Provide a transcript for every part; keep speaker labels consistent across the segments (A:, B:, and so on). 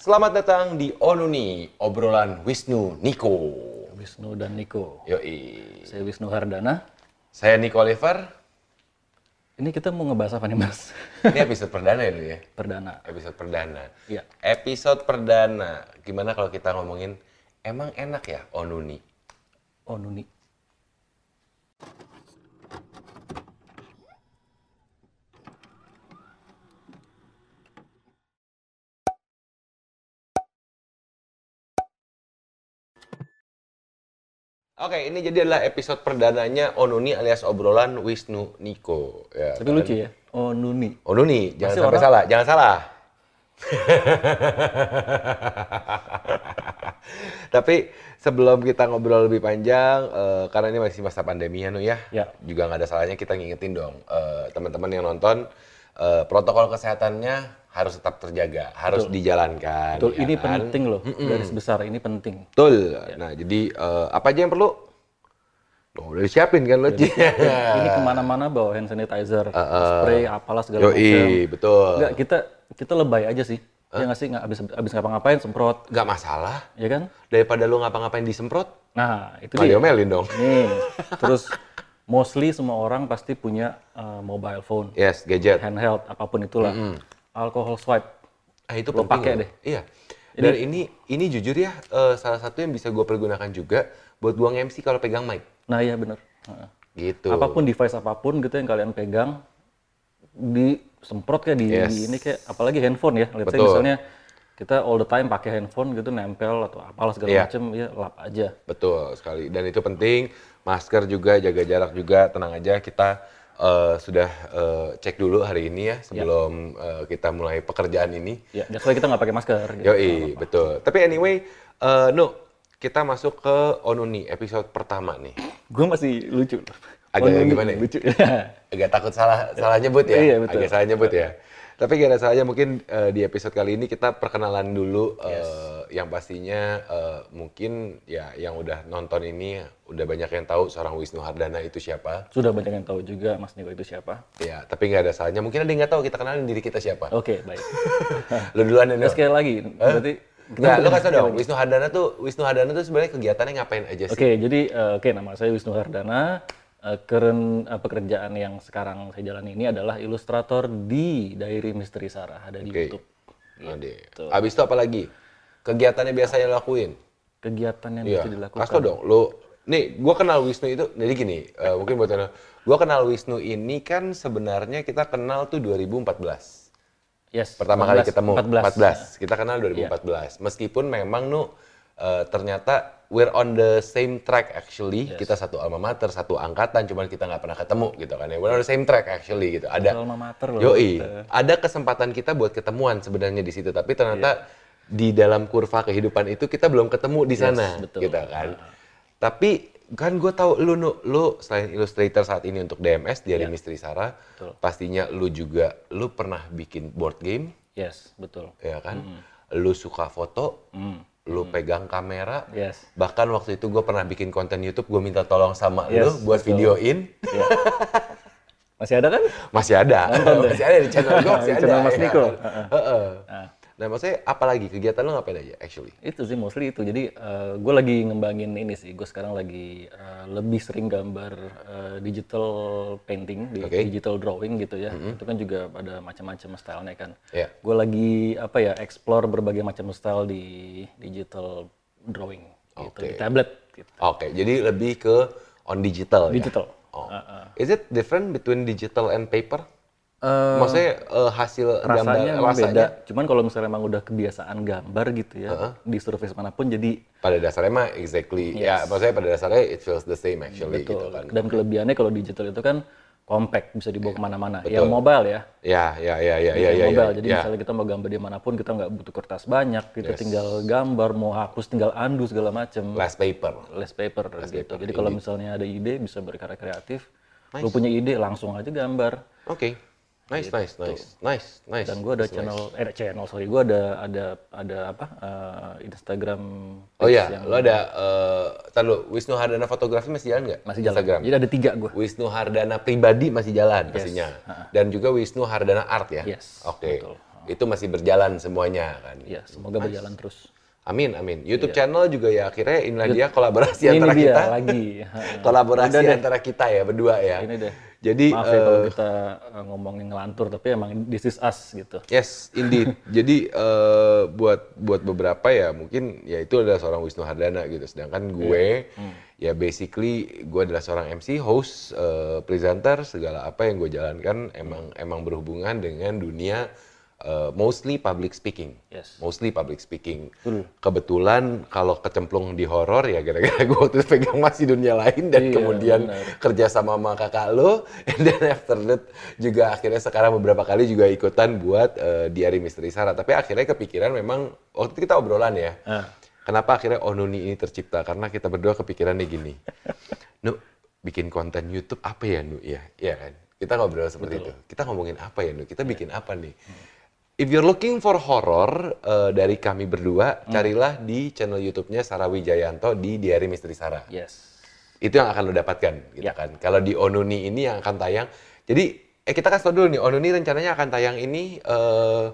A: Selamat datang di Onuni, obrolan Wisnu Niko.
B: Wisnu dan Niko.
A: Yoi.
B: Saya Wisnu Hardana.
A: Saya Niko Oliver.
B: Ini kita mau ngebahas apa nih Mas?
A: Ini episode perdana ya dulu ya.
B: Perdana.
A: Episode perdana.
B: Iya.
A: Episode perdana. Gimana kalau kita ngomongin emang enak ya Onuni?
B: Oh Nuni.
A: Oke, ini jadi adalah episode perdananya Onuni alias obrolan Wisnu Niko. Ya,
B: Tapi lucu ya. Oh Nuni.
A: Onuni, jangan
B: Pasti
A: sampai
B: orang-
A: salah, jangan salah. Tapi sebelum kita ngobrol lebih panjang, eh, karena ini masih masa pandemi ya, Nu ya,
B: Ya.
A: juga nggak ada salahnya kita ngingetin dong eh, teman-teman yang nonton eh, protokol kesehatannya harus tetap terjaga, harus dijalankan.
B: Betul,
A: ya
B: ini Ya.
A: kan?
B: penting loh. Garis besar ini penting.
A: Betul. Nah, jadi eh, apa aja yang perlu? Oh, udah disiapin kan lo?
B: Ini kemana-mana bawa hand sanitizer, spray, apalah segala macam.
A: Ah, Yoi, Ah. betul.
B: Enggak, kita kita lebay aja sih. Ya nggak sih, nggak abis abis ngapa-ngapain semprot,
A: Nggak masalah.
B: ya kan?
A: Daripada lu ngapa-ngapain disemprot,
B: Nah itu
A: Nggak
B: dia.
A: diomelin dong.
B: Nih, terus mostly semua orang pasti punya eh, mobile phone,
A: Yes, gadget.
B: handheld, apapun itulah. Alkohol swipe,
A: Ah, itu
B: Lo
A: penting
B: pakai
A: loh.
B: deh.
A: Iya. Dan ini ini jujur ya eh, salah satu yang bisa gue pergunakan juga buat gua MC kalau pegang mic.
B: nah iya bener. Heeh.
A: Gitu.
B: apapun device apapun gitu yang kalian pegang disemprot kayak di,
A: Yes.
B: di ini kayak apalagi handphone ya let's say
A: Betul.
B: misalnya kita all the time pakai handphone gitu nempel atau apalah segala
A: Iya.
B: macem ya lap aja
A: Betul sekali. Dan itu penting. Masker juga, jaga jarak juga. Tenang aja kita eh, sudah eh, cek dulu hari ini ya sebelum eh, kita mulai pekerjaan ini.
B: ya that's why kita nggak pakai masker gitu.
A: Yoi, betul. Tapi anyway, eh Nu, kita masuk ke Onuni episode pertama nih.
B: gue masih lucu
A: Agak
B: Walaupun
A: gimana ya?
B: lucu
A: agak takut salah salah nyebut ya.
B: Iya, betul.
A: Agak salah nyebut ya. Tapi gak ada salahnya mungkin eh, di episode kali ini kita perkenalan dulu eh, yang pastinya eh, mungkin ya yang udah nonton ini udah banyak yang tahu seorang Wisnu Hardana itu siapa.
B: sudah banyak yang tahu juga mas Niko itu siapa
A: Ya, tapi nggak ada salahnya. Mungkin ada yang nggak tahu kita kenalin diri kita siapa.
B: oke baik
A: Lo duluan ya, Nel.
B: terus sekali lagi berarti
A: Nah, lo kasih tau dong, Wisnu Hardana tuh Wisnu Hardana tuh sebenarnya kegiatannya ngapain aja
B: Oke,
A: sih?
B: jadi eh, oke nama saya Wisnu Hardana. Eh, keren eh, pekerjaan yang sekarang saya jalani ini adalah ilustrator di Diary Misteri Sarah ada di YouTube.
A: Nah, deh. Abis itu apa lagi? Kegiatannya biasanya lo lakuin?
B: Kegiatan yang
A: Iya.
B: bisa dilakukan.
A: Kasih tau dong, lo nih gue kenal Wisnu itu jadi gini, eh, mungkin buat gue kenal Wisnu ini kan sebenarnya kita kenal tuh 2014.
B: Yes.
A: Pertama kali
B: 14,
A: ketemu 14.
B: 14.
A: Kita
B: Iya.
A: kenal 2014. Meskipun memang nu eh, ternyata we're on the same track actually. Kita satu alma mater, satu angkatan, cuman kita nggak pernah ketemu gitu kan. ya. We're on the same track actually gitu. Ada
B: Alma mater loh.
A: Yoi,
B: iya.
A: ada kesempatan kita buat ketemuan sebenarnya di situ, tapi
B: Iya.
A: ternyata di dalam kurva kehidupan itu kita belum ketemu di sana,
B: betul. Nah.
A: gitu kan. Tapi kan gue tahu lu Nu, lu selain illustrator saat ini untuk DMS dari
B: Iya.
A: Misteri Sara, pastinya lu juga lu pernah bikin board game,
B: Yes, betul. Hmm.
A: ya kan?
B: Mm-hmm.
A: Lu suka foto, lu pegang kamera,
B: Yes.
A: bahkan waktu itu gue pernah bikin konten YouTube, gue minta tolong sama lu
B: Yes,
A: buat videoin.
B: Masih ada kan?
A: Masih ada, masih ada di channel gue, masih
B: Di
A: ada.
B: channel Mas
A: ya
B: Niko.
A: kan? Heeh. Nah, maksudnya apalagi kegiatan lo ngapain aja actually?
B: Itu sih mostly itu. Jadi gue lagi ngembangin ini sih. Gue sekarang lagi eh, lebih sering gambar eh, digital painting, di-
A: Oke.
B: digital drawing gitu ya. Itu kan juga ada macam-macam stylenya kan.
A: Iya.
B: Gue lagi apa ya explore berbagai macam style di digital drawing gitu di tablet gitu.
A: Oke, jadi lebih ke on digital, ya?
B: Digital.
A: Oh. Is it different between digital and paper? maksudnya eh, hasil
B: Rasanya
A: gambar
B: emang
A: rasanya
B: beda. Cuman kalau misalnya emang udah kebiasaan gambar gitu ya di surface manapun jadi
A: pada dasarnya mah exactly ya maksudnya pada dasarnya it feels the same actually gitu
B: betul.
A: kan. Iya.
B: Dan kelebihannya kalau digital itu kan compact bisa dibawa kemana-mana. Yang mobile ya.
A: Ya, ya, ya, ya, ya,
B: Yang
A: ya.
B: mobile.
A: ya,
B: Jadi
A: ya.
B: misalnya kita mau gambar dimanapun kita nggak butuh kertas banyak, kita tinggal gambar, mau hapus tinggal andu segala macam.
A: last paper.
B: Less paper gitu. Jadi
A: iya.
B: kalau misalnya ada ide bisa berkarya kreatif. Lu punya ide langsung aja gambar.
A: Oke. Nice, nice, nice, nice, nice.
B: Gitu. Dan gue ada channel, eh ada channel sorry, gue ada ada ada apa eh, Instagram
A: Oh iya, lo ada, eh tar lu, Wisnu Hardana Fotografi masih jalan nggak?
B: masih jalan.
A: Instagram.
B: Jadi ada tiga gue.
A: Wisnu Hardana pribadi masih jalan pastinya. Dan juga Wisnu Hardana Art ya?
B: Yes,
A: Oke.
B: betul.
A: Itu masih berjalan semuanya kan.
B: Ya, semoga berjalan terus.
A: Amin, amin. YouTube channel juga ya akhirnya inilah dia kolaborasi
B: Iya. Ini
A: antara
B: dia
A: kita.
B: lagi. Ha.
A: Kolaborasi antara kita ya berdua ya.
B: Ini deh.
A: Jadi
B: Maaf ya kalau kita eh, ngomongin ngelantur, tapi emang this is us gitu.
A: Yes, indeed. Jadi eh, buat buat beberapa ya mungkin ya itu adalah seorang Wisnu Hardana gitu. Sedangkan gue ya basically gue adalah seorang MC, host, eh, presenter, segala apa yang gue jalankan emang emang berhubungan dengan dunia eh, mostly public speaking.
B: Yes.
A: Mostly public speaking. Kebetulan kalau kecemplung di horor ya gara-gara gue waktu itu pegang masih dunia lain dan
B: Iya,
A: kemudian
B: benar.
A: kerja sama sama kakak lo and then after that juga akhirnya sekarang beberapa kali juga ikutan buat eh, diary misteri Sarah tapi akhirnya kepikiran memang waktu itu kita obrolan ya
B: Ah.
A: kenapa akhirnya Onuni ini tercipta karena kita berdua kepikirannya gini Nu bikin konten YouTube apa ya Nu ya ya kan kita ngobrol seperti itu kita ngomongin apa ya Nu kita bikin apa nih If you're looking for horror eh, dari kami berdua, carilah di channel YouTube-nya Sarah Wijayanto di Diary Misteri Sarah
B: Yes.
A: itu yang akan lo dapatkan gitu
B: Ya.
A: kan kalau di Onuni ini yang akan tayang jadi eh kita kasih tau dulu nih Onuni rencananya akan tayang ini eh,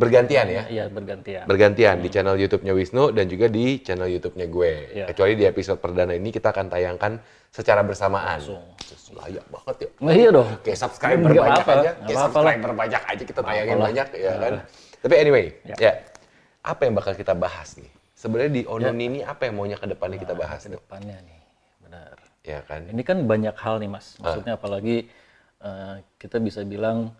A: bergantian ya
B: Iya, bergantian.
A: bergantian di channel YouTube-nya Wisnu dan juga di channel YouTube-nya gue
B: Ya.
A: kecuali di episode perdana ini kita akan tayangkan secara bersamaan Sus, layak banget ya
B: Nah, iya dong.
A: kayak subscriber
B: Nggak
A: banyak
B: apa-apa,
A: aja
B: nggak
A: kayak
B: apa-apa lah.
A: subscriber banyak aja kita tayangin
B: apa-apa lah.
A: banyak ya
B: Nggak
A: kan tapi anyway ya.
B: Ya.
A: apa yang bakal kita bahas nih sebenarnya di Onuni ini
B: Iya.
A: apa yang maunya ke depannya kita bahas tuh
B: Depannya nih, benar.
A: ya kan
B: Ini kan banyak hal nih
A: Ah.
B: mas. Maksudnya apalagi eh, kita bisa bilang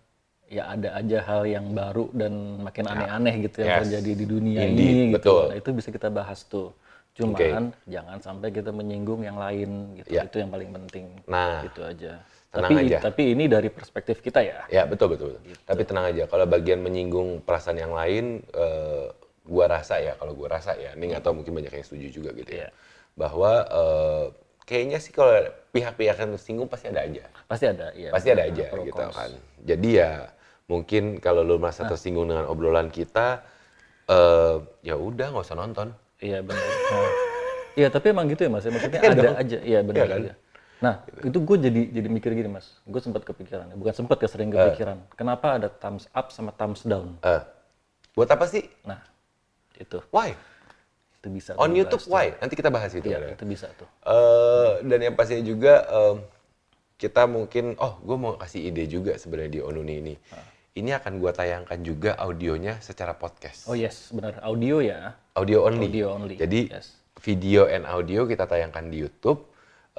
B: ya ada aja hal yang baru dan makin aneh-aneh gitu yang
A: Ya. Yes.
B: terjadi di dunia
A: Indeed,
B: ini. Gitu.
A: betul.
B: Nah, itu bisa kita bahas tuh. Cuman jangan sampai kita menyinggung yang lain gitu.
A: Ya.
B: Itu yang paling penting.
A: Nah.
B: Itu aja.
A: Tenang
B: tapi
A: aja.
B: tapi ini dari perspektif kita ya.
A: Ya betul betul. betul. Tapi tenang aja, kalau bagian menyinggung perasaan yang lain, eh, gua rasa ya kalau gua rasa ya, ini nggak tahu mungkin banyak yang setuju juga gitu ya,
B: Iya.
A: bahwa eh, kayaknya sih kalau pihak-pihak yang tersinggung pasti ada aja,
B: Pasti ada. Iya.
A: pasti ada aja
B: pro
A: gitu
B: cons.
A: kan. Jadi ya mungkin kalau lo merasa tersinggung dengan obrolan kita, eh, ya udah nggak usah nonton.
B: Iya benar. Nah, Iya tapi emang gitu ya mas, ya, maksudnya ada aja, iya benar
A: kan?
B: juga. Nah itu gue jadi jadi mikir gini mas, gue sempat kepikiran, bukan sempat ya sering kepikiran. Kenapa ada thumbs up sama thumbs down?
A: Eh, buat apa sih?
B: Nah itu
A: Why?
B: itu bisa.
A: On
B: tuh,
A: YouTube why? Nanti kita bahas itu.
B: Iya
A: ya.
B: itu bisa tuh.
A: eh dan yang pastinya juga em, kita mungkin oh gue mau kasih ide juga sebenarnya di Onuni ini.
B: Ah.
A: Ini akan gue tayangkan juga audionya secara podcast.
B: Oh yes benar audio ya.
A: Audio only.
B: Audio only,
A: Jadi
B: yes.
A: video and audio kita tayangkan di YouTube.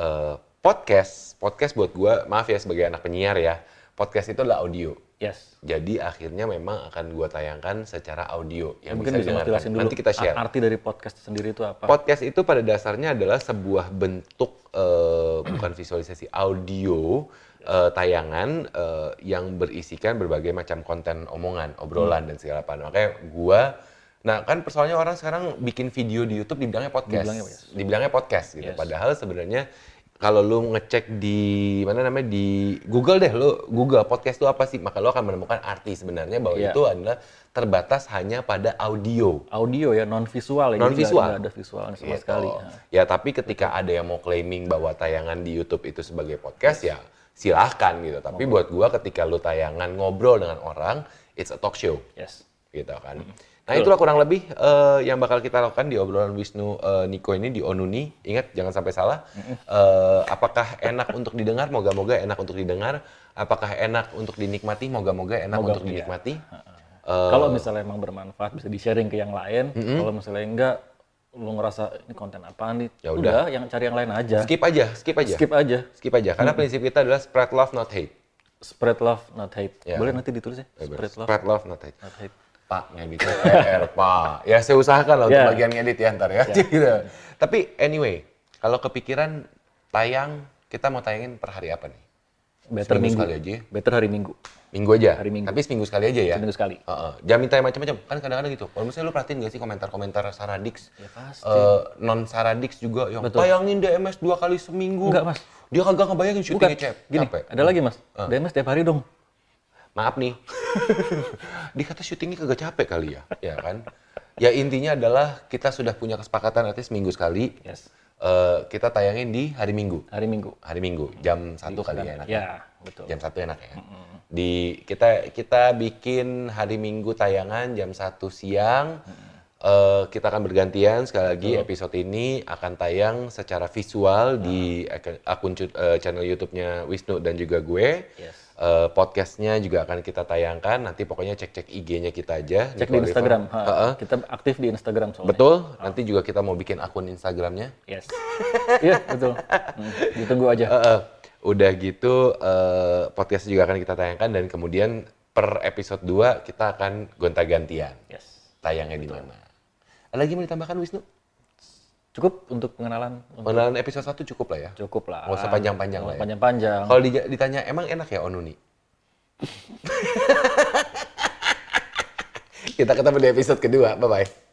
A: Eh, podcast, podcast buat gue maaf ya sebagai anak penyiar ya. Podcast itu adalah audio.
B: Yes.
A: Jadi akhirnya memang akan gue tayangkan secara audio yang Ya,
B: Mungkin bisa,
A: didengarkan.
B: jelasin dulu.
A: Nanti kita share.
B: Arti dari podcast sendiri itu apa?
A: Podcast itu pada dasarnya adalah sebuah bentuk eh, bukan visualisasi audio eh, tayangan eh, yang berisikan berbagai macam konten omongan,
B: Hmm.
A: obrolan dan segala macam. Makanya gua Nah, kan persoalannya orang sekarang bikin video di YouTube dibilangnya podcast.
B: Dibilangnya,
A: Dibilangnya,
B: yes.
A: podcast gitu.
B: Yes.
A: Padahal sebenarnya kalau lu ngecek di mana namanya di Google deh lu Google podcast itu apa sih? Maka lu akan menemukan arti sebenarnya bahwa
B: Iya.
A: itu adalah terbatas hanya pada audio.
B: Audio ya non visual ya. jadi nggak-
A: Non-visual.
B: nggak ada visualnya sama
A: Gitu.
B: sekali. Nah,
A: Ya tapi ketika ada yang mau claiming bahwa tayangan di YouTube itu sebagai podcast ya silahkan gitu. Tapi buat gua ketika lu tayangan ngobrol dengan orang, it's a talk show
B: Yes.
A: gitu kan.
B: Hmm.
A: Nah itulah kurang lebih eh, yang bakal kita lakukan di obrolan Wisnu eh, Niko ini di Onuni. Ingat jangan sampai salah.
B: Hmm.
A: Eh, apakah enak untuk didengar? Moga-moga enak untuk didengar. Apakah enak untuk dinikmati? Moga-moga enak untuk
B: iya.
A: dinikmati. Eh,
B: Kalau misalnya emang bermanfaat bisa di-sharing ke yang lain. Kalau misalnya enggak, lu ngerasa ini konten apaan nih?
A: Ya
B: yang cari yang lain aja.
A: Skip aja, skip aja.
B: Skip Hmm. aja.
A: Skip aja. Karena prinsip kita adalah spread love not hate.
B: Spread love, not hate.
A: Ya.
B: Boleh nanti ditulis ya? Spread love,
A: Spread love, not hate.
B: not hate.
A: Pak, ngeditnya PR, Pak. Ya saya usahakan lah untuk
B: Ya.
A: bagian ngedit ya ntar ya. Gitu. Tapi anyway, kalau kepikiran tayang, kita mau tayangin per hari apa nih?
B: Better
A: Seminggu
B: minggu.
A: sekali aja ya?
B: Better hari minggu.
A: Minggu aja?
B: Hari Minggu.
A: Tapi seminggu sekali aja ya?
B: Seminggu sekali.
A: Heeh. Jangan minta yang macam-macam. Kan kadang-kadang gitu. Kalau misalnya lu perhatiin gak sih komentar-komentar Saradix?
B: Ya, pasti.
A: eh, non Saradix juga yang tayangin DMS dua kali seminggu.
B: Enggak, Mas.
A: Dia kagak ngebayangin
B: Bukan,
A: syutingnya, Cep.
B: gini.
A: Capek. Ah.
B: Ada lagi mas. DMS tiap hari dong.
A: maaf nih dikata syutingnya kagak capek kali ya ya kan ya intinya adalah kita sudah punya kesepakatan artinya seminggu sekali
B: Yes.
A: eh eh, kita tayangin di hari Minggu.
B: hari Minggu.
A: Hari Minggu jam satu kali ya. enak ya.
B: Ya, betul.
A: Jam satu enak ya. Di kita kita bikin hari Minggu tayangan jam satu siang. Eh, kita akan bergantian sekali lagi episode ini akan tayang secara visual di ak- akun cu- eh, channel YouTube-nya Wisnu dan juga gue.
B: Yes.
A: Eh, podcastnya juga akan kita tayangkan. Nanti pokoknya cek-cek IG-nya kita aja.
B: Cek di
A: Nicole River.
B: Instagram. ha.
A: Heeh.
B: Kita aktif di Instagram soalnya.
A: Betul. Nanti juga kita mau bikin akun Instagramnya.
B: Yes. Iya, betul. Hmm, ditunggu aja.
A: Eh, eh, udah gitu eh, podcast juga akan kita tayangkan dan kemudian per episode 2 kita akan gonta-gantian
B: Yes.
A: tayangnya di mana. Ada lagi mau ditambahkan Wisnu?
B: Cukup untuk pengenalan
A: Pengenalan episode 1 cukup lah ya.
B: cukup lah.
A: Nggak usah panjang-panjang
B: Nggak
A: lah ya.
B: Panjang-panjang.
A: Kalau di- ditanya emang enak ya Onuni? kita ketemu di episode kedua. Bye bye.